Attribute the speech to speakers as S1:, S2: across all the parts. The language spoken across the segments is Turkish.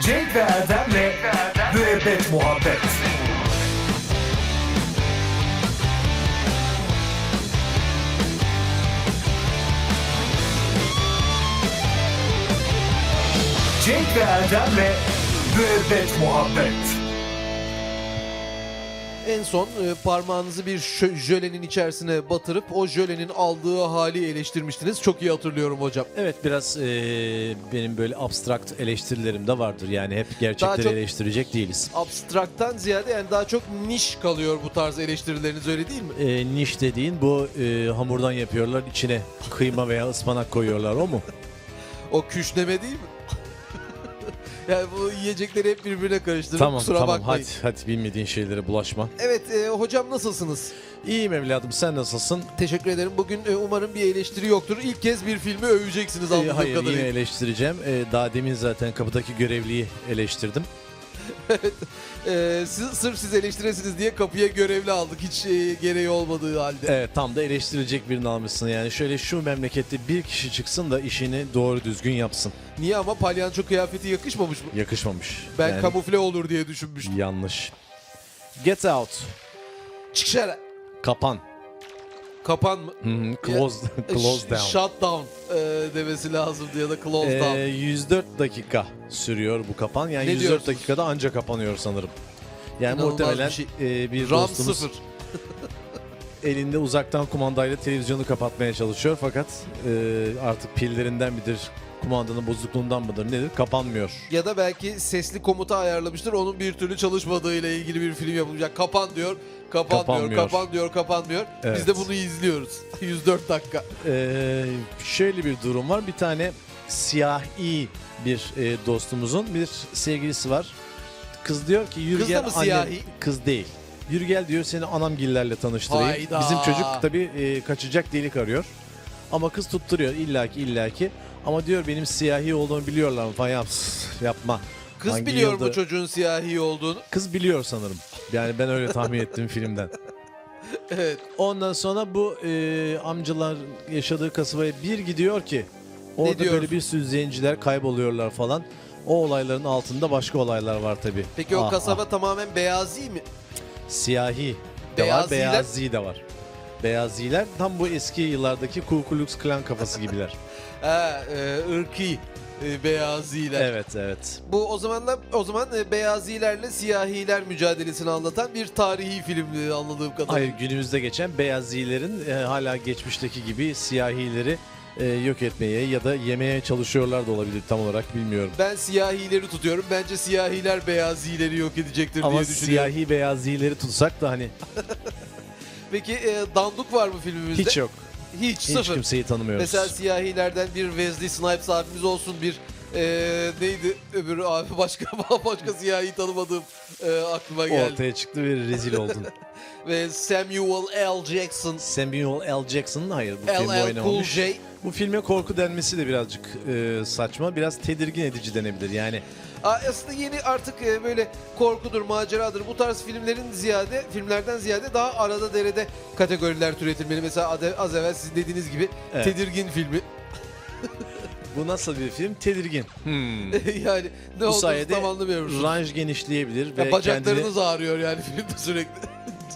S1: Cenk ve Erdem'le Müebbet Muhabbet Cenk ve Erdem'le Müebbet Muhabbet
S2: En son e, parmağınızı bir şö- jölenin içerisine batırıp o jölenin aldığı hali eleştirmiştiniz. Çok iyi hatırlıyorum hocam.
S3: Evet biraz eee, benim böyle abstrakt eleştirilerim de vardır. Yani hep gerçekleri
S2: çok-
S3: eleştirecek değiliz.
S2: Abstraktan ziyade yani daha çok niş kalıyor bu tarz eleştirileriniz öyle değil mi?
S3: Eee, niş dediğin bu eee, hamurdan yapıyorlar içine kıyma veya ıspanak koyuyorlar o mu?
S2: O küşneme değil mi? yani bu yiyecekleri hep birbirine karıştırıp
S3: tamam
S2: kusura
S3: tamam
S2: bakmayın.
S3: hadi, hadi bilmediğin şeylere bulaşma.
S2: Evet e, hocam nasılsınız?
S3: İyiyim evladım sen nasılsın?
S2: Teşekkür ederim. Bugün e, umarım bir eleştiri yoktur. İlk kez bir filmi öveceksiniz
S3: Ee,
S2: anladığım
S3: hayır
S2: kadarıyla.
S3: yine eleştireceğim. Ee, daha demin zaten kapıdaki görevliyi eleştirdim.
S2: E, siz, sırf siz eleştiresiniz diye kapıya görevli aldık. Hiç e, gereği olmadığı halde.
S3: Evet tam da eleştirecek birini almışsın yani. Şöyle şu memlekette bir kişi çıksın da işini doğru düzgün yapsın.
S2: Niye ama palyanço kıyafeti yakışmamış mı?
S3: Yakışmamış.
S2: Ben
S3: Yani
S2: kamufle olur diye düşünmüştüm.
S3: Yanlış. Get out.
S2: Çıkışara.
S3: Kapan.
S2: Kapan mı?
S3: Hmm, close, close
S2: Ş-
S3: down.
S2: e, Shut down e, demesi lazımdı ya da close
S3: Ee,
S2: down.
S3: 104 dakika sürüyor bu kapan. Yani
S2: Ne
S3: 104
S2: diyorsunuz?
S3: dakika da anca kapanıyor sanırım. Yani
S2: İnanılmaz
S3: muhtemelen
S2: bir şey.
S3: e, bir
S2: RAM
S3: dostumuz
S2: sıfır.
S3: elinde uzaktan kumandayla televizyonu kapatmaya çalışıyor. Fakat e, artık pillerinden midir, kumandanın bozukluğundan mıdır nedir kapanmıyor.
S2: Ya da belki sesli komuta ayarlamıştır. Onun bir türlü çalışmadığı ile ilgili bir film yapılacak. Kapan diyor, kapan diyor,
S3: Kapanmıyor.
S2: kapan diyor, kapan diyor. Biz
S3: Evet.
S2: de bunu izliyoruz. 104 dakika.
S3: Ee, şöyle bir durum var. Bir tane siyahi bir e, dostumuzun bir sevgilisi var. Kız diyor ki yürü
S2: Kız da
S3: gel
S2: mı
S3: anne-
S2: siyahi?
S3: Kız değil. Yürü gel diyor seni anamgillerle tanıştırayım.
S2: Hayda.
S3: Bizim çocuk tabii e, kaçacak delik arıyor. Ama kız tutturuyor illaki illaki. Ama diyor benim siyahi olduğumu biliyorlar mı falan Ya, pss, yapma.
S2: Kız
S3: Hangi
S2: biliyor
S3: yılda-
S2: mu çocuğun siyahi olduğunu?
S3: Kız biliyor sanırım. Yani ben öyle tahmin ettim filmden.
S2: Evet.
S3: Ondan sonra bu e, amcalar yaşadığı kasabaya bir gidiyor ki
S2: Ne
S3: orada
S2: diyor?
S3: böyle bir sürü zenciler kayboluyorlar falan. O olayların altında başka olaylar var tabi.
S2: Peki o kasaba tamamen beyazi mi?
S3: siyahi de var,
S2: Beyaziler-
S3: beyazi de var. Beyaziler tam bu eski yıllardaki Ku Klux Klan kafası gibiler.
S2: Ha, e, ırki e, beyaziler.
S3: evet evet.
S2: Bu o zaman da o zaman e, beyazilerle siyahiler mücadelesini anlatan bir tarihi filmdi anladığım kadarıyla.
S3: Hayır günümüzde geçen beyazilerin e, hala geçmişteki gibi siyahileri e, yok etmeye ya da yemeye çalışıyorlar da olabilir tam olarak bilmiyorum.
S2: Ben siyahileri tutuyorum. Bence siyahiler beyazileri yok edecektir
S3: Ama
S2: diye düşünüyorum.
S3: siyahi beyazileri tutsak da hani
S2: Peki e, danduk var mı filmimizde?
S3: hiç yok.
S2: Hiç,
S3: Hiç
S2: sıfır.
S3: kimseyi tanımıyoruz.
S2: Mesela siyahilerden bir Wesley Snipes abimiz olsun bir e, neydi öbürü abi başka başka siyahi tanımadığım e, aklıma geldi.
S3: ortaya çıktı ve rezil oldun.
S2: Ve Samuel L. Jackson,
S3: Samuel L. Jackson'ın hayır bu filmde
S2: LL Cool
S3: oynamamış.
S2: J.
S3: Bu filme korku denmesi de birazcık e, saçma. Biraz tedirgin edici denebilir. Yani
S2: Aa, Aslında yeni artık e, böyle korkudur, maceradır bu tarz filmlerin ziyade filmlerden ziyade daha arada derede kategoriler türetilmeli. Mesela ade- az evvel sizin dediğiniz gibi
S3: Evet.
S2: tedirgin filmi.
S3: bu nasıl bir film? Tedirgin. Hmm.
S2: yani ne
S3: bu
S2: olduğunu
S3: sayede
S2: tam anlamıyoruz.
S3: ranj genişleyebilir ve
S2: Ya bacaklarınız ağrıyor yani filmde sürekli.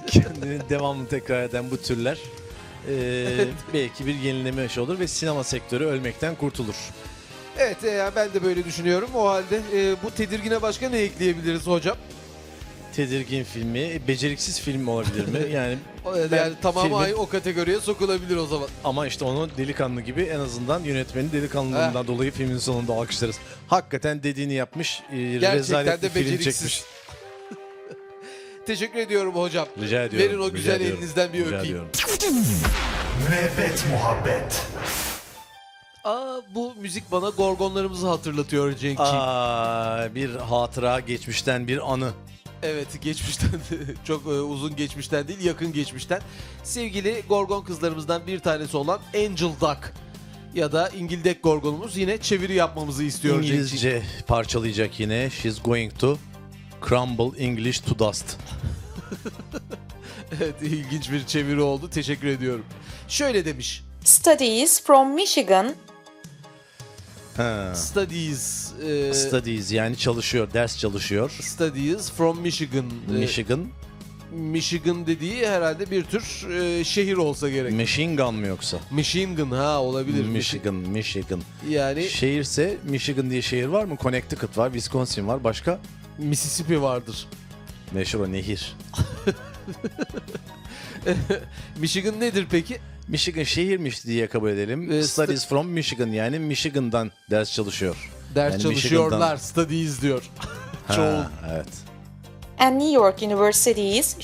S3: kendini, kendini devamlı tekrar eden bu türler e, belki bir yenileme yaşı olur ve sinema sektörü ölmekten kurtulur.
S2: evet e, yani ben de böyle düşünüyorum. O halde e, bu tedirgine başka ne ekleyebiliriz hocam?
S3: Tedirgin filmi, beceriksiz film olabilir mi? Yani
S2: O- e, Yani
S3: Ben
S2: tamamı
S3: filmin-
S2: ay- o kategoriye sokulabilir o zaman.
S3: Ama işte onu delikanlı gibi en azından yönetmenin delikanlılığından dolayı filmin sonunda alkışlarız. Hakikaten dediğini yapmış, e,
S2: Gerçekten
S3: rezalet bir
S2: de
S3: film
S2: beceriksiz.
S3: çekmiş.
S2: Teşekkür ediyorum hocam.
S3: Rica ediyorum.
S2: Verin o
S3: rica
S2: güzel
S3: ediyorum,
S2: elinizden bir
S3: rica
S2: öpeyim.
S3: ediyorum.
S1: Müebbet Muhabbet
S2: Aa bu müzik bana gorgonlarımızı hatırlatıyor Cenk'ciğim.
S3: Aa, bir hatıra geçmişten bir anı.
S2: Evet geçmişten çok e, uzun geçmişten değil yakın geçmişten. Sevgili gorgon kızlarımızdan bir tanesi olan Angel Duck ya da İngildek gorgonumuz yine çeviri yapmamızı istiyor Cenk'ciğim.
S3: İngilizce parçalayacak yine. She's going to crumble English to dust.
S2: Evet ilginç bir çeviri oldu teşekkür ediyorum. Şöyle demiş.
S4: Studies from Michigan
S3: Heh, Ha.
S2: Studies, e,
S3: Studies yani çalışıyor, ders çalışıyor.
S2: Studies from Michigan. E,
S3: Michigan.
S2: Michigan dediği herhalde bir tür e, şehir olsa gerek.
S3: Machine Gun mı yoksa?
S2: Michigan ha olabilir.
S3: Michigan, Michigan.
S2: Yani
S3: Şehirse Michigan diye şehir var mı? Connecticut var, Wisconsin var. Başka?
S2: Mississippi vardır.
S3: Meşhur o nehir.
S2: Michigan nedir peki?
S3: Michigan şehirmiş diye kabul edelim.
S2: Ee,
S3: Studies from Michigan yani Michigan'dan ders çalışıyor.
S2: Ders
S3: Yani
S2: çalışıyorlar,
S3: Michigan'dan.
S2: studies diyor.
S3: Ha,
S2: Çoğul.
S3: evet.
S4: and New York universities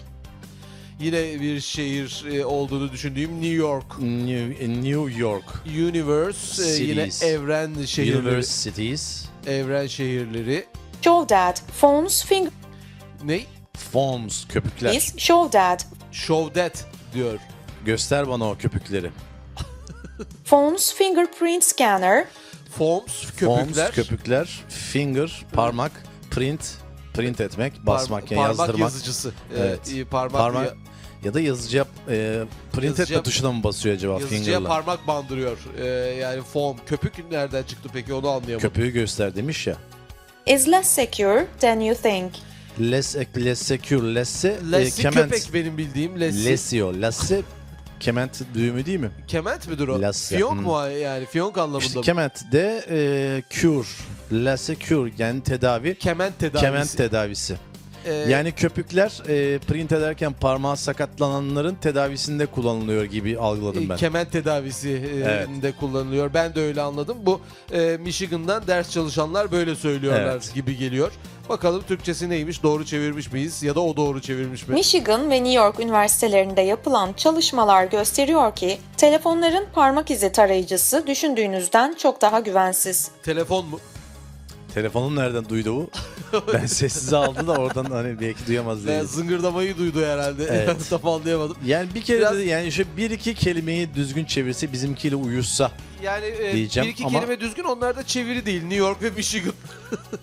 S2: Yine bir şehir e, olduğunu düşündüğüm New York.
S3: New, New York
S2: Universe e, yine
S3: Cities.
S2: evren şehirleri.
S3: Universities
S2: Evren şehirleri.
S4: show that phones fingers
S2: Ne?
S3: Forms köpükler.
S4: show that
S2: Show that diyor.
S3: Göster bana o köpükleri.
S4: phones fingerprint scanner
S2: Forms köpükler.
S3: Forms köpükler. Finger parmak. Print print etmek
S2: Par-
S3: basmak yani
S2: parmak
S3: yazdırmak.
S2: yazıcısı. E,
S3: Evet.
S2: e, parmak
S3: parmak
S2: ya-
S3: ya da yazıcıya e, print
S2: Yazıcıya-
S3: etme tuşuna mı basıyor acaba
S2: yazıcıya
S3: finger'la?
S2: parmak bandırıyor. E, yani form köpük nereden çıktı peki onu anlayamadım.
S3: Köpüğü göster demiş ya.
S4: is less secure than you think.
S3: Less, less secure, lesse, e,
S2: Lessi
S3: kement.
S2: köpek benim bildiğim lessi.
S3: Lesio, lasse kement e, düğümü değil mi?
S2: Kement midir o?
S3: Lessi,
S2: Fiyonk
S3: hmm.
S2: mu yani? Fiyonk anlamında
S3: İşte
S2: mı?
S3: kement de e, cure, lasse cure yani tedavi,
S2: Kement tedavisi.
S3: kement tedavisi.
S2: E,
S3: Yani köpükler e, print ederken parmağı sakatlananların tedavisinde kullanılıyor gibi algıladım
S2: e,
S3: ben.
S2: Kement tedavisi e,
S3: Evet.
S2: de kullanılıyor. Ben de öyle anladım. Bu e, Michigan'dan ders çalışanlar böyle söylüyorlar
S3: Evet.
S2: gibi geliyor. Bakalım Türkçesi neymiş? Doğru çevirmiş miyiz? Ya da o doğru çevirmiş mi?
S4: Michigan ve New York üniversitelerinde yapılan çalışmalar gösteriyor ki telefonların parmak izi tarayıcısı düşündüğünüzden çok daha güvensiz.
S2: Telefon mu?
S3: Telefonum nereden duydu bu? ben sessize aldı da oradan hani belki duyamaz diye.
S2: Ben zıngırdamayı duydu herhalde.
S3: Evet.
S2: Tam anlayamadım.
S3: Yani bir kere
S2: Biraz-
S3: de yani şu bir iki kelimeyi düzgün çevirse bizimkiyle uyuşsa.
S2: Yani e,
S3: Diyeceğim
S2: bir iki
S3: ama-
S2: kelime düzgün onlar da çeviri değil. New York ve Michigan.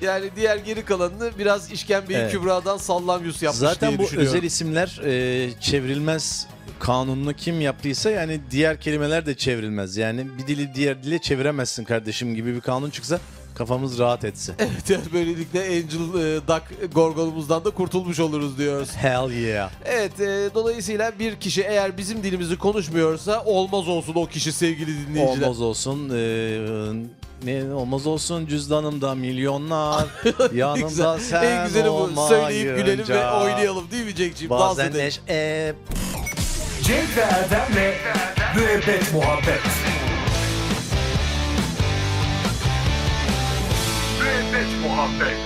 S2: yani diğer geri kalanını biraz işkembeyi
S3: Evet.
S2: kübradan sallamyus yapmış
S3: Zaten
S2: diye
S3: bu
S2: düşünüyorum.
S3: özel isimler e, çevrilmez kanununu kim yaptıysa yani diğer kelimeler de çevrilmez. Yani bir dili diğer dile çeviremezsin kardeşim gibi bir kanun çıksa kafamız rahat etse.
S2: Evet, yani böylelikle Angel e, Duck gorgonumuzdan da kurtulmuş oluruz diyoruz.
S3: Hell yeah.
S2: Evet e, dolayısıyla bir kişi eğer bizim dilimizi konuşmuyorsa olmaz olsun o kişi sevgili dinleyiciler.
S3: Olmaz olsun. e, ne olmaz olsun cüzdanımda milyonlar
S2: En güzel-
S3: yanımda sen
S2: en güzeli bu. Söyleyip gülelim ve
S3: olmayınca.
S2: oynayalım değil mi Cenk'ciğim? Dans
S3: Bazen
S2: edelim.
S3: neş e,
S1: Cenk ve Erdem'le Müebbet Muhabbet Müebbet Muhabbet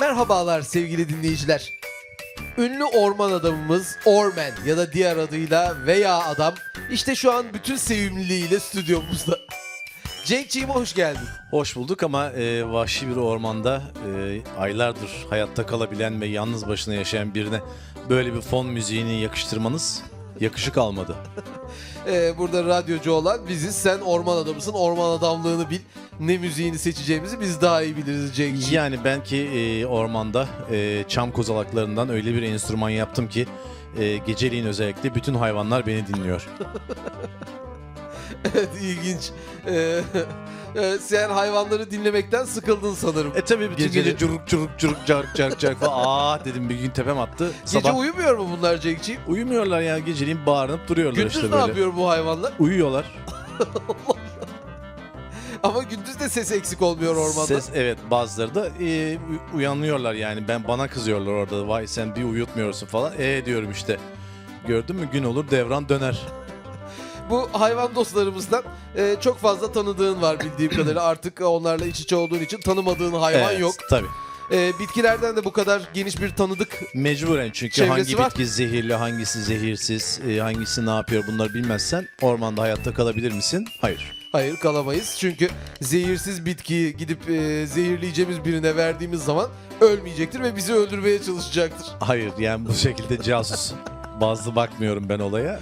S2: Merhabalar sevgili dinleyiciler. Ünlü orman adamımız Orman ya da diğer adıyla veya adam işte şu an bütün sevimliliğiyle stüdyomuzda. Cenk'ciğim hoş geldin.
S3: Hoş bulduk ama e, vahşi bir ormanda e, aylardır hayatta kalabilen ve yalnız başına yaşayan birine böyle bir fon müziğini yakıştırmanız yakışık almadı.
S2: Ee, burada radyocu olan biziz. Sen orman adamısın. Orman adamlığını bil. Ne müziğini seçeceğimizi biz daha iyi biliriz Cenk'ciğim.
S3: Yani ben ki e, ormanda e, çam kozalaklarından öyle bir enstrüman yaptım ki e, geceliğin özellikle bütün hayvanlar beni dinliyor.
S2: Evet ilginç. Ee, e, sen hayvanları dinlemekten sıkıldın sanırım.
S3: E tabii bütün
S2: Geceli-
S3: gece curuk curuk curuk carık carık carık falan aa dedim bir gün tepem attı.
S2: Gece
S3: Sabah
S2: uyumuyor mu bunlar Cenk'ciğim?
S3: uyumuyorlar ya geceliğin bağırıp duruyorlar
S2: Gündüz
S3: işte
S2: ne
S3: böyle.
S2: yapıyor bu hayvanlar?
S3: Uyuyorlar.
S2: Ama gündüz de ses eksik olmuyor ormanda.
S3: Ses evet bazıları da e, u- uyanıyorlar yani ben bana kızıyorlar orada vay sen bir uyutmuyorsun falan e diyorum işte gördün mü gün olur devran döner
S2: Bu hayvan dostlarımızdan e, çok fazla tanıdığın var bildiğim kadarıyla. Artık onlarla iç içe olduğun için tanımadığın hayvan
S3: Evet,
S2: yok.
S3: tabi
S2: E, bitkilerden de bu kadar geniş bir tanıdık
S3: mecburen çünkü
S2: Çevresi
S3: hangi
S2: var.
S3: bitki zehirli hangisi zehirsiz e, hangisi ne yapıyor bunları bilmezsen ormanda hayatta kalabilir misin hayır
S2: Hayır kalamayız çünkü zehirsiz bitkiyi gidip e, zehirleyeceğimiz birine verdiğimiz zaman ölmeyecektir ve bizi öldürmeye çalışacaktır.
S3: hayır yani bu şekilde casus bazlı bakmıyorum ben olaya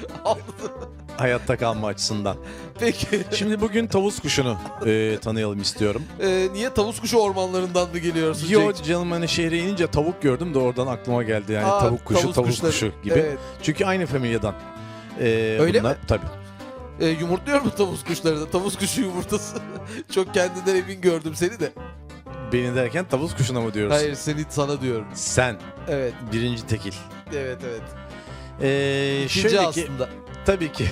S3: hayatta kalma açısından
S2: Peki
S3: şimdi bugün tavus kuşunu e, tanıyalım istiyorum
S2: e, niye tavus kuşu ormanlarından mı geliyorsun?
S3: Yo
S2: Cenk'ciğim?
S3: canım hani şehre inince tavuk gördüm de oradan aklıma geldi yani
S2: Aa,
S3: tavuk kuşu
S2: tavus
S3: tavuk
S2: kuşları.
S3: kuşu gibi.
S2: Evet.
S3: Çünkü aynı familyadan. Ee,
S2: Öyle
S3: bunlar,
S2: mi?
S3: Tabii.
S2: E, yumurtluyor mu tavus kuşları da? Tavus kuşu yumurtası. Çok kendinden emin gördüm seni de.
S3: Beni derken tavus kuşuna mı diyoruz?
S2: Hayır seni sana diyorum.
S3: Sen
S2: Evet,
S3: birinci tekil.
S2: evet, evet.
S3: Ee,
S2: İkinci
S3: E şöyle ki
S2: aslında.
S3: tabii ki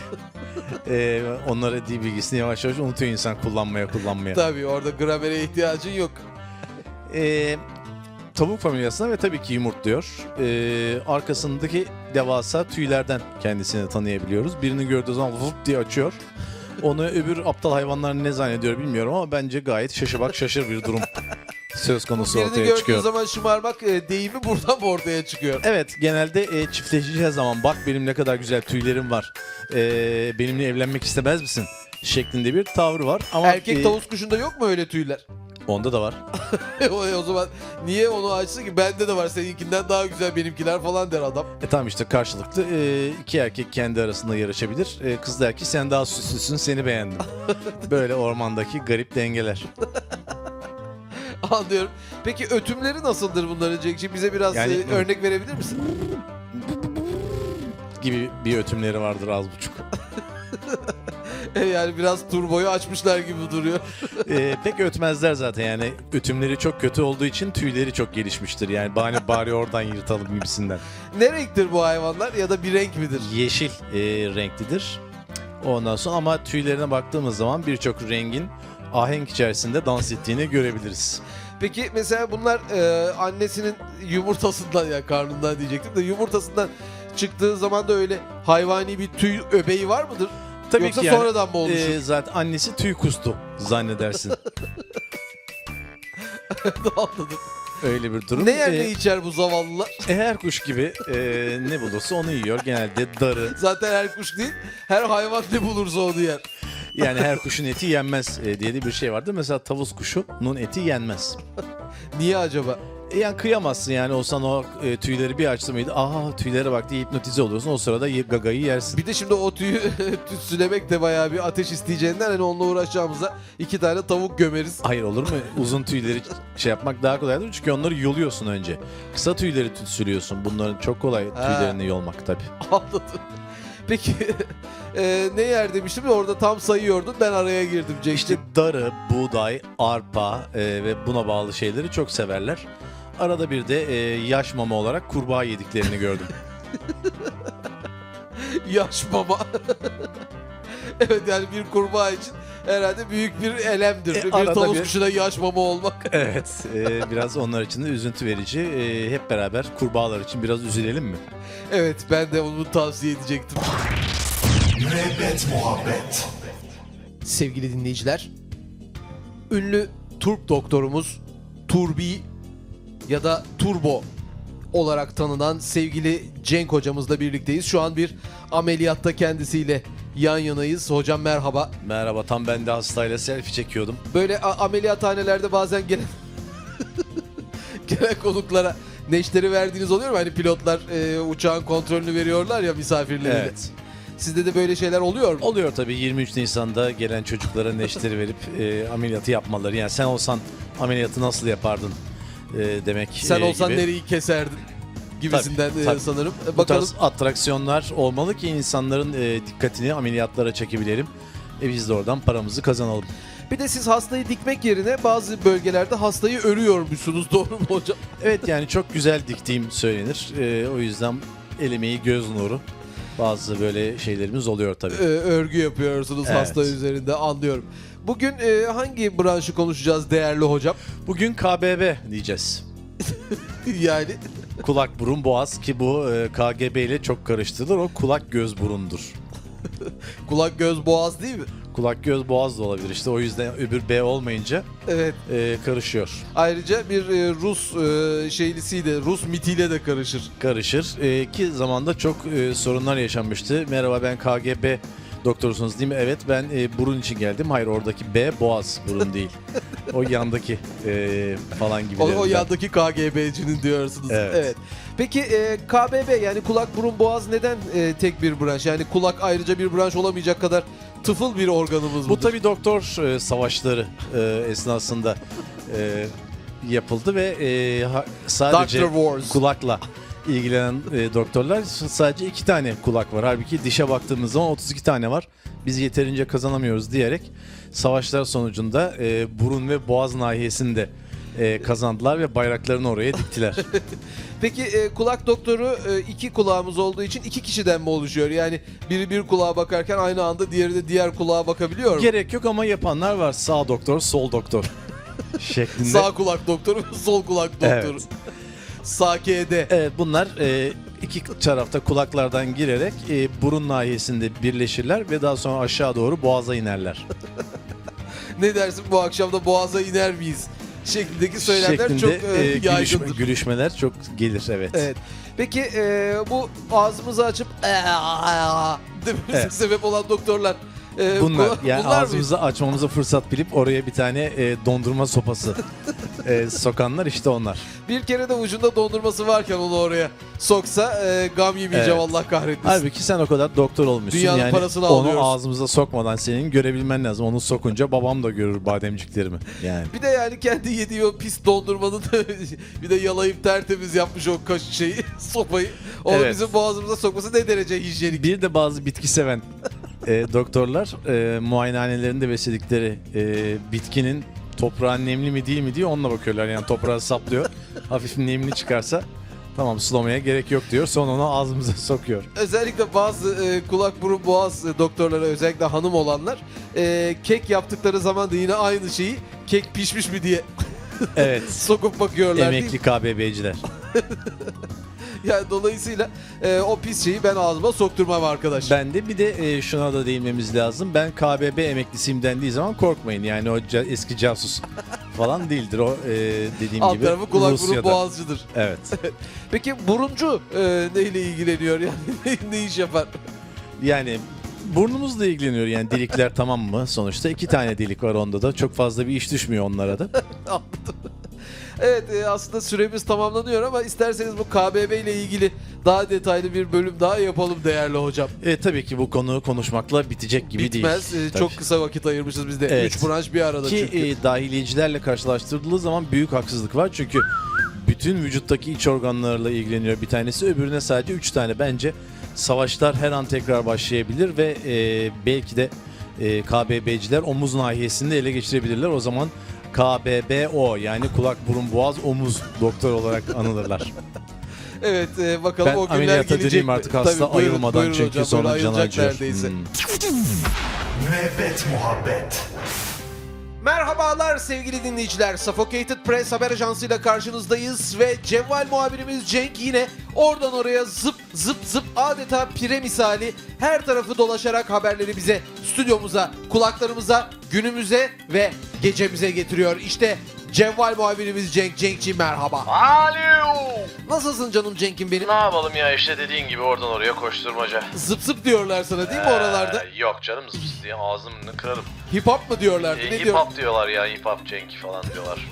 S3: ee, onlara dil bilgisini yavaş yavaş unutuyor insan kullanmaya kullanmaya.
S2: Tabii orada gramere ihtiyacın yok.
S3: Ee, tavuk familyasına ve tabii ki yumurtluyor. Ee, arkasındaki devasa tüylerden kendisini tanıyabiliyoruz. Birini gördüğü zaman vup diye açıyor. Onu öbür aptal hayvanlar ne zannediyor bilmiyorum ama bence gayet şaşabak şaşır bir durum söz konusu
S2: Birini
S3: ortaya
S2: gördüğün
S3: çıkıyor.
S2: zaman şımarmak e, deyimi buradan ortaya çıkıyor.
S3: Evet genelde e, çiftleşeceği zaman bak benim ne kadar güzel tüylerim var. Ee, benimle evlenmek istemez misin? şeklinde bir tavrı var. Ama
S2: Erkek
S3: e,
S2: tavus kuşunda yok mu öyle tüyler?
S3: onda da var.
S2: o, o zaman niye onu açsın ki? Bende de var seninkinden daha güzel benimkiler falan der adam.
S3: E tamam işte karşılıklı e, iki erkek kendi arasında yarışabilir. E, kız der ki sen daha süslüsün seni beğendim. Böyle ormandaki garip dengeler.
S2: Anlıyorum. Peki ötümleri nasıldır bunların Cenk'ciğim? Bize biraz
S3: Yani-
S2: e, örnek verebilir misin?
S3: Gibi bir ötümleri vardır az buçuk.
S2: yani biraz turboyu açmışlar gibi duruyor.
S3: E, pek ötmezler zaten yani ötümleri çok kötü olduğu için tüyleri çok gelişmiştir. Yani bari, bari oradan yırtalım gibisinden.
S2: ne renktir bu hayvanlar ya da bir renk midir?
S3: Yeşil e, renklidir. Ondan sonra ama tüylerine baktığımız zaman birçok rengin ahenk içerisinde dans ettiğini görebiliriz.
S2: Peki mesela bunlar e, annesinin yumurtasından ya karnından diyecektim de yumurtasından çıktığı zaman da öyle hayvani bir tüy öbeği var mıdır?
S3: Tabii
S2: Yoksa
S3: ki yani,
S2: sonradan mı olmuş?
S3: e, zaten annesi tüy kustu zannedersin.
S2: Anladım.
S3: Öyle bir durum.
S2: Ne yer
S3: Ee,
S2: ne içer bu zavallılar?
S3: e, her kuş gibi e, ne bulursa onu yiyor. Genelde darı.
S2: Zaten her kuş değil, her hayvan ne bulursa onu yer.
S3: Yani her kuşun eti yenmez e, diye de bir şey vardır. Mesela tavus kuşunun eti yenmez.
S2: Niye acaba?
S3: E, yani kıyamazsın yani olsan o e, tüyleri bir açtı mıydı? Aha tüylere bak diye hipnotize oluyorsun. O sırada ye- gagayı yersin.
S2: Bir de şimdi o tüyü tütsülemek de bayağı bir ateş isteyeceğinden hani onunla uğraşacağımıza iki tane tavuk gömeriz.
S3: Hayır olur mu? Uzun tüyleri şey yapmak daha kolaydır. Çünkü onları yoluyorsun önce. Kısa tüyleri tütsülüyorsun. Bunların çok kolay
S2: Ha.
S3: tüylerini yolmak tabii.
S2: Anladım. Peki e, ne yer demiştim ya orada tam sayıyordun ben araya girdim
S3: İşte
S2: Cenk'ciğim.
S3: darı, buğday, arpa e, ve buna bağlı şeyleri çok severler. Arada bir de e, yaş mama olarak kurbağa yediklerini gördüm.
S2: Yaş baba. evet yani bir kurbağa için herhalde büyük bir elemdir.
S3: E,
S2: bir
S3: arada
S2: tavus
S3: bir-
S2: kuşuna yaş baba olmak.
S3: evet. E, biraz onlar için de üzüntü verici. E, hep beraber kurbağalar için biraz üzülelim mi?
S2: evet ben de onu tavsiye edecektim.
S1: Müebbet muhabbet.
S2: sevgili dinleyiciler. Ünlü Turp doktorumuz Turbi ya da Turbo olarak tanınan sevgili Cenk hocamızla birlikteyiz. Şu an bir ameliyatta kendisiyle yan yanayız. Hocam merhaba.
S3: Merhaba tam ben de hastayla selfie çekiyordum.
S2: Böyle a- ameliyathanelerde bazen gelen gelen konuklara neşteri verdiğiniz oluyor mu? Hani pilotlar e, uçağın kontrolünü veriyorlar ya misafirlerine.
S3: Evet.
S2: Sizde de böyle şeyler oluyor mu?
S3: Oluyor tabii 23 Nisan'da gelen çocuklara neşteri verip e, ameliyatı yapmaları. Yani sen olsan ameliyatı nasıl yapardın e, demek.
S2: Sen
S3: e,
S2: olsan
S3: gibi.
S2: nereyi keserdin gibisinden
S3: Tabii,
S2: e,
S3: tabii.
S2: sanırım. E,
S3: Bu
S2: Bakalım
S3: tarz atraksiyonlar olmalı ki insanların e, dikkatini ameliyatlara çekebilelim. E biz de oradan paramızı kazanalım.
S2: Bir de siz hastayı dikmek yerine bazı bölgelerde hastayı örüyormuşsunuz doğru mu hocam?
S3: Evet yani çok güzel diktiğim söylenir. E, o yüzden el emeği göz nuru. Bazı böyle şeylerimiz oluyor tabii.
S2: Ee, örgü yapıyorsunuz
S3: Evet.
S2: hasta üzerinde anlıyorum. Bugün e, hangi branşı konuşacağız değerli hocam?
S3: Bugün KBB diyeceğiz.
S2: yani
S3: Kulak burun boğaz ki bu e, KGB ile çok karıştırılır. O kulak göz burundur.
S2: kulak göz boğaz değil mi?
S3: Kulak göz boğaz da olabilir işte o yüzden öbür B olmayınca
S2: Evet.
S3: e, karışıyor.
S2: Ayrıca bir e, Rus e, şeylisiyle, Rus mitiyle de karışır.
S3: karışır. Ee, ki zamanda çok e, sorunlar yaşanmıştı. Merhaba ben KGB doktorusunuz değil mi? Evet ben e, burun için geldim. Hayır oradaki B boğaz burun değil. o yandaki e, falan gibi.
S2: O, o
S3: dediler.
S2: yandaki KGB'cinin diyorsunuz.
S3: Evet.
S2: Peki e, KBB yani kulak burun boğaz neden e, tek bir branş? Yani kulak ayrıca bir branş olamayacak kadar tıfıl bir organımız
S3: Bu
S2: mıdır?
S3: tabi doktor e, savaşları e, esnasında e, yapıldı ve e, ha- sadece
S2: Doctor Wars.
S3: kulakla ilgilenen e, doktorlar s- sadece iki tane kulak var. Halbuki dişe baktığımız zaman 32 tane var. Biz yeterince kazanamıyoruz diyerek savaşlar sonucunda e, burun ve boğaz nahiyesini de e, kazandılar ve bayraklarını oraya diktiler.
S2: Peki e, kulak doktoru e, iki kulağımız olduğu için iki kişiden mi oluşuyor? Yani biri bir kulağa bakarken aynı anda diğeri de diğer kulağa bakabiliyor mu?
S3: Gerek yok ama yapanlar var. Sağ doktor, sol doktor şeklinde.
S2: Sağ kulak doktoru, sol kulak doktoru.
S3: Evet.
S2: Sağ KD.
S3: Evet bunlar e, iki tarafta kulaklardan girerek e, burun nahiyesinde birleşirler ve daha sonra aşağı doğru boğaza inerler.
S2: Ne dersin bu akşam da boğaza iner miyiz? Şeklindeki söylemler çok e,
S3: e,
S2: yaygındır.
S3: gülüşme- gülüşmeler çok gelir evet.
S2: Evet. Peki e, bu ağzımızı açıp "Ee, dememize
S3: Evet.
S2: sebep olan doktorlar e,
S3: Bunlar
S2: kula-
S3: yani
S2: bunlar mı?
S3: ağzımızı açmamıza fırsat bilip oraya bir tane e, dondurma sopası e, sokanlar işte onlar.
S2: Bir kere de ucunda dondurması varken onu oraya soksa e, gam yemeyeceğim
S3: Evet.
S2: Allah kahretmesin.
S3: Halbuki sen o kadar doktor olmuşsun.
S2: Dünyanın
S3: yani
S2: parasını
S3: onu
S2: alıyoruz.
S3: ağzımıza sokmadan senin görebilmen lazım. Onu sokunca babam da görür bademciklerimi. Yani
S2: Bir de yani kendi yediği o pis dondurmanın da bir de yalayıp tertemiz yapmış o kaş şeyi, sopayı. Onu
S3: Evet.
S2: bizim boğazımıza sokması ne derece hijyenik.
S3: Bir de bazı bitki seven e, doktorlar e, muayenehanelerinde besledikleri e, bitkinin toprağı nemli mi değil mi diye onunla bakıyorlar. Yani toprağı saplıyor. Hafif nemli çıkarsa tamam sulamaya gerek yok diyor. Sonra onu ağzımıza sokuyor.
S2: Özellikle bazı e, kulak burun boğaz e, doktorları özellikle hanım olanlar e, kek yaptıkları zaman da yine aynı şeyi kek pişmiş mi diye
S3: Evet.
S2: sokup bakıyorlar. değil mi?
S3: Emekli KBB'ciler.
S2: Yani dolayısıyla e, o pis şeyi ben ağzıma sokturmam arkadaş.
S3: Ben de bir de e, şuna da değinmemiz lazım. Ben KBB emeklisiyim dendiği zaman korkmayın. Yani o ca- eski casus falan değildir. O e, dediğim
S2: Alt
S3: gibi
S2: tarafı kulak burun
S3: Rusya'da.
S2: boğazcıdır.
S3: Evet.
S2: Peki buruncu e, neyle ilgileniyor yani ne- ne iş yapar?
S3: Yani burnumuzla ilgileniyor yani delikler tamam mı? Sonuçta iki tane delik var onda da. Çok fazla bir iş düşmüyor onlara da.
S2: Anladım. Evet e, aslında süremiz tamamlanıyor ama isterseniz bu KBB ile ilgili daha detaylı bir bölüm daha yapalım değerli hocam.
S3: E, tabii ki bu konu konuşmakla bitecek gibi
S2: Bitmez.
S3: değil.
S2: e, Çok kısa vakit ayırmışız biz de.
S3: Evet.
S2: Üç branş bir arada
S3: Tabii. ki
S2: çünkü.
S3: e, dahiliyecilerle karşılaştırıldığı zaman büyük haksızlık var. Çünkü bütün vücuttaki iç organlarla ilgileniyor bir tanesi. Öbürüne sadece üç tane. Bence savaşlar her an tekrar başlayabilir ve e, belki de e, KBB'ciler omuz nahiyesini de ele geçirebilirler. O zaman KBBO yani kulak burun boğaz omuz doktor olarak anılırlar.
S2: Evet e, bakalım
S3: Ben
S2: o günler
S3: ameliyata
S2: gelecek
S3: gireyim
S2: mi?
S3: artık hasta
S2: Tabii, buyurun,
S3: ayılmadan
S2: buyurun
S3: çünkü
S2: hocam,
S3: sonra
S2: böyle
S3: can
S2: ayılacak
S3: acıyor.
S2: neredeyse.
S3: Hmm.
S1: Müebbet muhabbet.
S2: Merhabalar sevgili dinleyiciler. Suffocated Press haber ajansıyla karşınızdayız ve Cevval muhabirimiz Cenk yine oradan oraya zıp zıp zıp adeta pire misali her tarafı dolaşarak haberleri bize, stüdyomuza, kulaklarımıza, günümüze ve gecemize getiriyor. İşte Cevval muhabirimiz Cenk. Cenk'ciğim merhaba.
S5: Alo.
S2: Nasılsın canım Cenk'im benim?
S5: Ne yapalım ya işte dediğin gibi oradan oraya koşturmaca.
S2: Zıp zıp diyorlar sana değil mi oralarda?
S5: Ee, yok canım zıps diye ağzımını kırarım.
S2: Hip hop mu diyorlardı?
S5: Ee,
S2: Ne
S5: hip
S2: diyor?
S5: hop diyorlar ya hip hop Cenk falan diyorlar.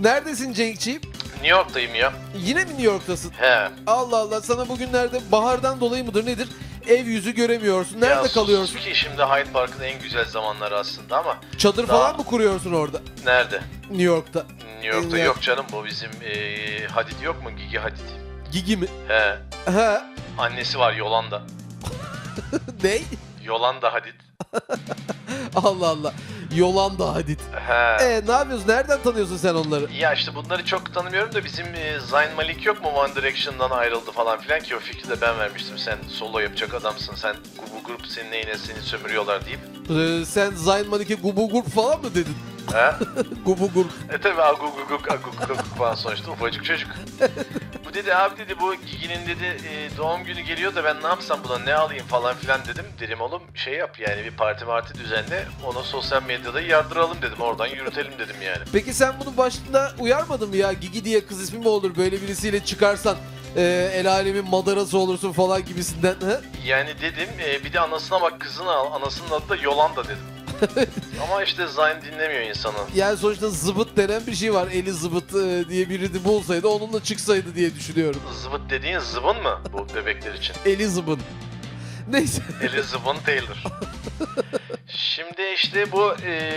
S2: Neredesin Cenk'ciğim?
S5: New York'tayım ya.
S2: Yine mi New York'tasın?
S5: He.
S2: Allah Allah sana bugünlerde bahardan dolayı mıdır nedir? Ev yüzü göremiyorsun. Nerede
S5: Ya sus
S2: kalıyorsun?
S5: Ki şimdi Hyde Park'ın en güzel zamanları aslında ama
S2: Çadır
S5: Daha-
S2: falan mı kuruyorsun orada?
S5: nerede?
S2: New York'ta.
S5: New York'ta
S2: Ya.
S5: yok canım bu bizim ee, Hadid yok mu? Gigi Hadid.
S2: Gigi mi?
S5: He.
S2: He.
S5: Annesi var Yolanda.
S2: Ney?
S5: Yolanda Hadid.
S2: Allah Allah. Yolanda Hadid.
S5: He.
S2: E ne yapıyorsun? Nereden tanıyorsun sen onları?
S5: Ya işte bunları çok tanımıyorum da bizim e, Zayn Malik yok mu One Direction'dan ayrıldı falan filan ki o fikri de ben vermiştim. Sen solo yapacak adamsın. Sen bu grup senin neyine seni sömürüyorlar deyip.
S2: Ee, sen Zayn Malik'e gubu grup falan mı dedin?
S5: Ha?
S2: Gubu grup.
S5: e tabi aguguguk aguguguk falan sonuçta ufacık çocuk. bu dedi abi dedi bu Gigi'nin dedi e, doğum günü geliyor da ben ne yapsam buna ne alayım falan filan dedim. Dedim oğlum şey yap yani bir parti marti düzenle onu sosyal medyada yardıralım dedim oradan yürütelim dedim yani.
S2: Peki sen bunun başında uyarmadın mı ya? Gigi diye kız ismi mi olur? Böyle birisiyle çıkarsan e, el alemin madarası olursun falan gibisinden. He?
S5: Yani dedim e, bir de anasına bak kızını al. Anasının adı da Yolanda dedim. Ama işte Zayn dinlemiyor insanı.
S2: Yani sonuçta zıbıt denen bir şey var. Eli zıbıt e, diye birini bulsaydı onunla çıksaydı diye düşünüyorum.
S5: Zıbıt dediğin zıbın mı bu bebekler için?
S2: Eli zıbın. Neyse.
S5: Eli zıbın Taylor. Şimdi işte bu e,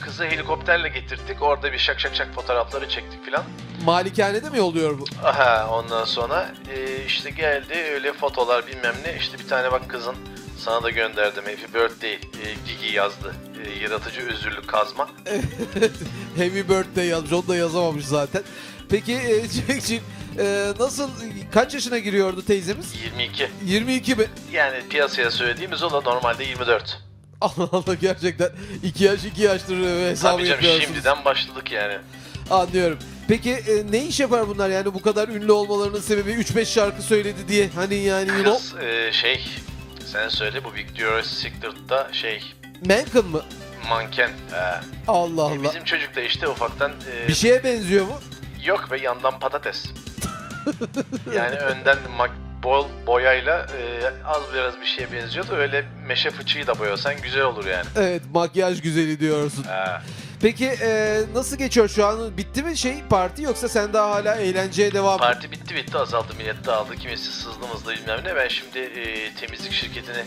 S5: kızı helikopterle getirttik. Orada bir şak şak şak fotoğrafları çektik filan.
S2: Malikanede mi yolluyor bu?
S5: Aha ondan sonra e, işte geldi öyle fotolar bilmem ne. İşte bir tane bak kızın sana da gönderdim. Happy birthday e, Gigi yazdı. E, yaratıcı özürlü kazma.
S2: Heavy Birthday yazmış. Onu da yazamamış zaten. Peki e, Cenk'ciğim e, nasıl kaç yaşına giriyordu teyzemiz?
S5: 22.
S2: 22 mi?
S5: Yani piyasaya söylediğimiz o da normalde 24.
S2: Allah Allah gerçekten 2 yaş 2 yaştır e, hesabı
S5: Tabii canım
S2: yapıyorsunuz.
S5: şimdiden başladık yani.
S2: Anlıyorum. Peki e, ne iş yapar bunlar yani bu kadar ünlü olmalarının sebebi 3-5 şarkı söyledi diye hani yani you know,
S5: Kız e, şey sen söyle bu Victoria's Secret'ta şey
S2: Mankin mı?
S5: manken. Ee,
S2: Allah
S5: E,
S2: Allah.
S5: Bizim çocuk da işte ufaktan e,
S2: Bir şey- şeye benziyor mu?
S5: yok ve yandan patates. yani önden mak- bol boyayla e, az biraz bir şeye benziyordu. Öyle meşe fıçıyı da boyasan güzel olur yani.
S2: Evet makyaj güzeli diyorsun.
S5: Ha.
S2: Peki e, nasıl geçiyor şu an? Bitti mi şey parti yoksa sen daha hala eğlenceye devam
S5: Parti bitti bitti azaldı millet dağıldı. Kimisi sızlı mızlı bilmem ne. Ben şimdi e, temizlik şirketini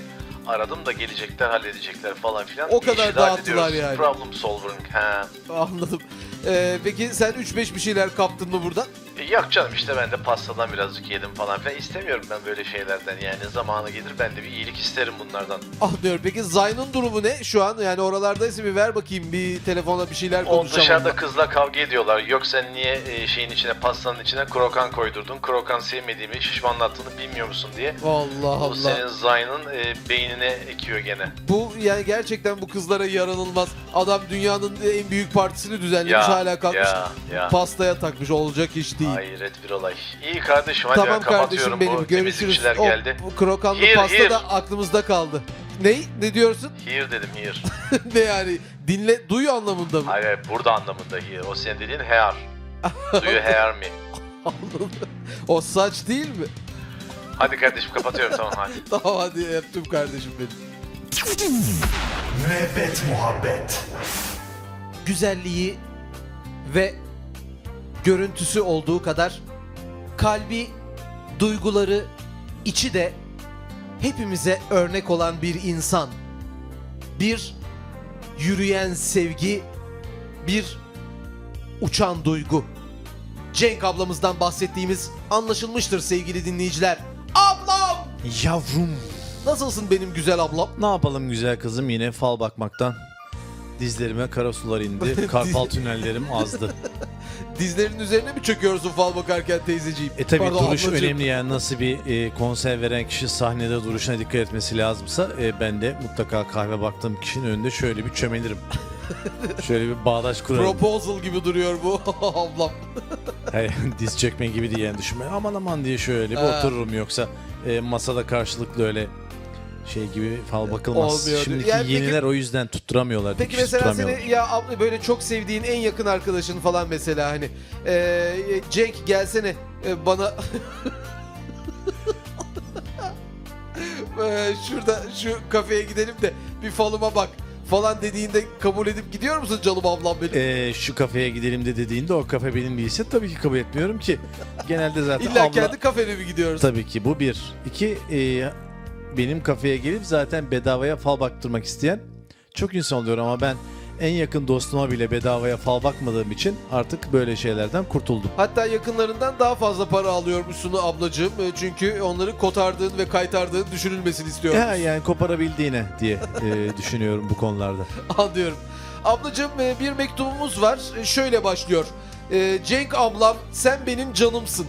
S5: aradım da gelecekler halledecekler falan filan.
S2: O
S5: Bir
S2: kadar
S5: işi de
S2: dağıttılar
S5: hallediyoruz.
S2: yani.
S5: Problem solving. Ha.
S2: Anladım. E, peki sen 3-5 bir şeyler kaptın mı buradan?
S5: E, Yok canım işte ben de pastadan birazcık yedim falan filan. İstemiyorum ben böyle şeylerden yani. Zamanı gelir ben de bir iyilik isterim bunlardan.
S2: Anlıyorum. Peki Zayn'ın durumu ne şu an? Yani oralardaysa bir ver bakayım bir telefonla bir şeyler
S5: On
S2: konuşalım.
S5: dışarıda kızla kavga ediyorlar. Yok sen niye e, şeyin içine pastanın içine krokan koydurdun? Krokan sevmediğimi, şişmanlattığını bilmiyor musun diye.
S2: Allah
S5: Bu
S2: Allah.
S5: senin Zayn'ın e, beynine ekiyor gene.
S2: Bu yani gerçekten bu kızlara yaranılmaz. Adam dünyanın en büyük partisini düzenlemiş
S5: Ya,
S2: hala kalkmış.
S5: ya, ya.
S2: Pastaya takmış olacak iş değil.
S5: Hayret bir olay. İyi kardeşim hadi
S2: tamam
S5: ben kapatıyorum
S2: kardeşim benim
S5: bu
S2: görüşürüz.
S5: temizlikçiler
S2: O
S5: geldi.
S2: bu krokanlı
S5: Here,
S2: pasta
S5: here.
S2: da aklımızda kaldı. Ne? Ne diyorsun?
S5: Here dedim here.
S2: ne yani? Dinle, duy anlamında mı?
S5: Hayır hayır, burada anlamında here. O senin dediğin hair. Do you hair me?
S2: Anladım. o saç değil mi?
S5: Hadi kardeşim kapatıyorum tamam hadi.
S2: Tamam hadi yaptım kardeşim benim.
S1: Müebbet muhabbet.
S2: güzelliği ve görüntüsü olduğu kadar kalbi, duyguları, içi de hepimize örnek olan bir insan. Bir yürüyen sevgi, bir uçan duygu. Cenk ablamızdan bahsettiğimiz anlaşılmıştır sevgili dinleyiciler. Ablam!
S3: Yavrum.
S2: Nasılsın benim güzel ablam?
S3: Ne yapalım güzel kızım yine fal bakmaktan. Dizlerime kara sular indi. Karpal tünellerim azdı.
S2: Dizlerinin üzerine mi çöküyorsun fal bakarken teyzeciğim?
S3: E tabi
S2: Pardon,
S3: duruş
S2: ablacığım.
S3: önemli yani nasıl bir e, konser veren kişi sahnede duruşuna dikkat etmesi lazımsa e, ben de mutlaka kahve baktığım kişinin önünde şöyle bir çömelirim. şöyle bir bağdaş kurarım.
S2: Proposal gibi duruyor bu ablam.
S3: Hayır, diz çökme gibi diye yani düşünme. Aman aman diye şöyle bir
S2: Ha.
S3: otururum yoksa e, masada karşılıklı öyle şey gibi fal bakılmaz.
S2: Olmuyor.
S3: Şimdiki
S2: Yani peki-
S3: yeniler o yüzden tutturamıyorlar.
S2: Peki
S3: dikiş
S2: mesela
S3: tutturamıyorlar.
S2: seni ya abla böyle çok sevdiğin en yakın arkadaşın falan mesela hani eee Cenk gelsene e, bana Eee, E, şurada şu kafeye gidelim de bir falıma bak falan dediğinde kabul edip gidiyor musun canım ablam benim?
S3: E, şu kafeye gidelim de dediğinde o kafe benim değilse tabii ki kabul etmiyorum ki. Genelde zaten
S2: İlla
S3: abla...
S2: kendi kafene mi gidiyoruz?
S3: Tabii ki bu bir. İki, e, benim kafeye gelip zaten bedavaya fal baktırmak isteyen çok insan oluyor ama ben en yakın dostuma bile bedavaya fal bakmadığım için artık böyle şeylerden kurtuldum.
S2: Hatta yakınlarından daha fazla para alıyormuşsun ablacığım. E, Çünkü onları kotardığın ve kaytardığın düşünülmesini istiyorum.
S3: Ya, yani koparabildiğine diye e, düşünüyorum bu konularda.
S2: Anlıyorum. Ablacığım e, bir mektubumuz var. E, Şöyle başlıyor. E, Cenk ablam sen benim canımsın.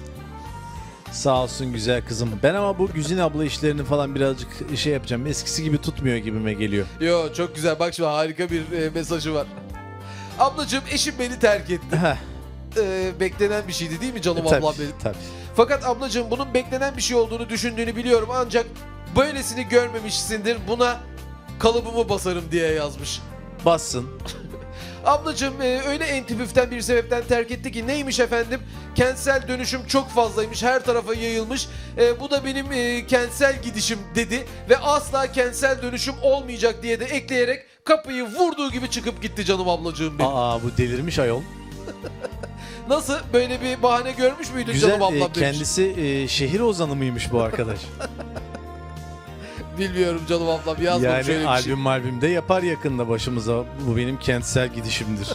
S3: Sağ olsun güzel kızım. Ben ama bu Güzin abla işlerini falan birazcık şey yapacağım. Eskisi gibi tutmuyor gibime geliyor.
S2: Yo çok güzel bak şimdi harika bir e, mesajı var. Ablacığım eşim beni terk etti.
S3: Heh, E,
S2: E, beklenen bir şeydi değil mi canım
S3: tabii,
S2: ablam benim?
S3: tabii.
S2: Fakat ablacığım bunun beklenen bir şey olduğunu düşündüğünü biliyorum ancak böylesini görmemişsindir buna kalıbımı basarım diye yazmış.
S3: Bassın.
S2: Ablacığım e, öyle entipüften bir sebepten terk etti ki neymiş efendim? Kentsel dönüşüm çok fazlaymış, her tarafa yayılmış. E, bu da benim e, kentsel gidişim dedi ve asla kentsel dönüşüm olmayacak diye de ekleyerek kapıyı vurduğu gibi çıkıp gitti canım ablacığım benim.
S3: Aa bu delirmiş ayol.
S2: Nasıl böyle bir bahane görmüş müydün
S3: Güzel
S2: canım ablam
S3: e,
S2: demiş.
S3: kendisi e, şehir ozanı mıymış bu arkadaş?
S2: Bilmiyorum canım ablam yazmamış
S3: yani
S2: öyle bir şey.
S3: albüm albüm de yapar yakında başımıza. Bu benim kentsel gidişimdir.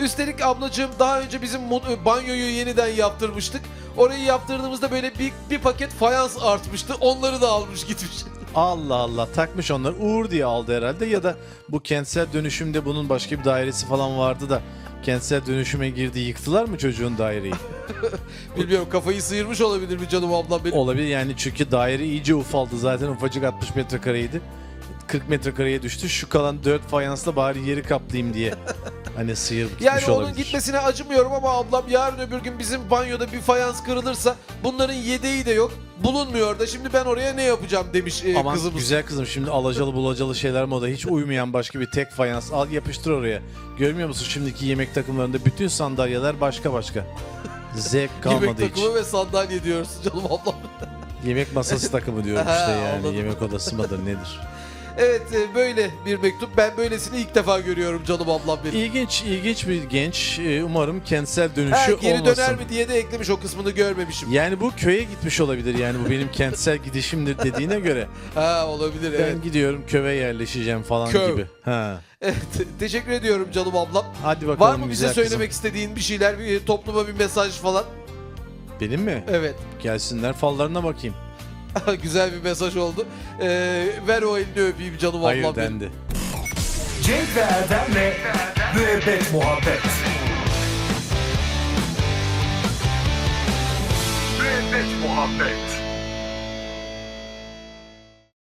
S2: Üstelik ablacığım daha önce bizim mod- e, banyoyu yeniden yaptırmıştık. Orayı yaptırdığımızda böyle bir, bir paket fayans artmıştı. Onları da almış gitmiş.
S3: Allah Allah takmış onlar. Uğur diye aldı herhalde ya da bu kentsel dönüşümde bunun başka bir dairesi falan vardı da kentsel dönüşüme girdi yıktılar mı çocuğun daireyi?
S2: Bilmiyorum kafayı sıyırmış olabilir mi canım ablam benim.
S3: Olabilir yani çünkü daire iyice ufaldı zaten ufacık 60 metrekareydi. 40 metrekareye düştü. Şu kalan 4 fayansla bari yeri kaplayayım diye. Hani sıyırıp gitmiş
S2: Yani onun
S3: olabilir.
S2: gitmesine acımıyorum ama ablam yarın öbür gün bizim banyoda bir fayans kırılırsa bunların yedeği de yok. Bulunmuyor da şimdi ben oraya ne yapacağım demiş e,
S3: Aman
S2: kızımız.
S3: güzel kızım şimdi alacalı bulacalı şeyler moda hiç uymayan başka bir tek fayans al yapıştır oraya. Görmüyor musun şimdiki yemek takımlarında bütün sandalyeler başka başka. Zevk
S2: Yemek
S3: kalmadı hiç.
S2: takımı ve sandalye diyorsun canım ablam.
S3: Yemek masası takımı diyorum işte
S2: Ha,
S3: yani.
S2: anladım.
S3: Yemek odası mıdır nedir?
S2: Evet e, böyle bir mektup. Ben böylesini ilk defa görüyorum canım ablam benim.
S3: İlginç, ilginç bir genç. Ee, Umarım kentsel dönüşü
S2: Ha, geri
S3: şey olmasın.
S2: döner mi diye de eklemiş o kısmını görmemişim.
S3: Yani bu köye gitmiş olabilir yani bu benim kentsel gidişimdir dediğine göre
S2: Ha olabilir
S3: ben
S2: evet.
S3: gidiyorum köve yerleşeceğim falan
S2: Köy.
S3: gibi. Ha.
S2: Evet, Teşekkür ediyorum canım ablam.
S3: Hadi bakalım
S2: Var mı bize
S3: güzel
S2: söylemek istediğin bir şeyler, bir topluma bir mesaj falan?
S3: kızım. Benim mi?
S2: Evet.
S3: Gelsinler fallarına bakayım.
S2: Güzel bir mesaj oldu. Ee, ver o elini öpeyim canım
S3: Hayır
S2: ablam benim.
S3: dendi.
S1: Cenk ve Erdem'le Müebbet Muhabbet Müebbet Muhabbet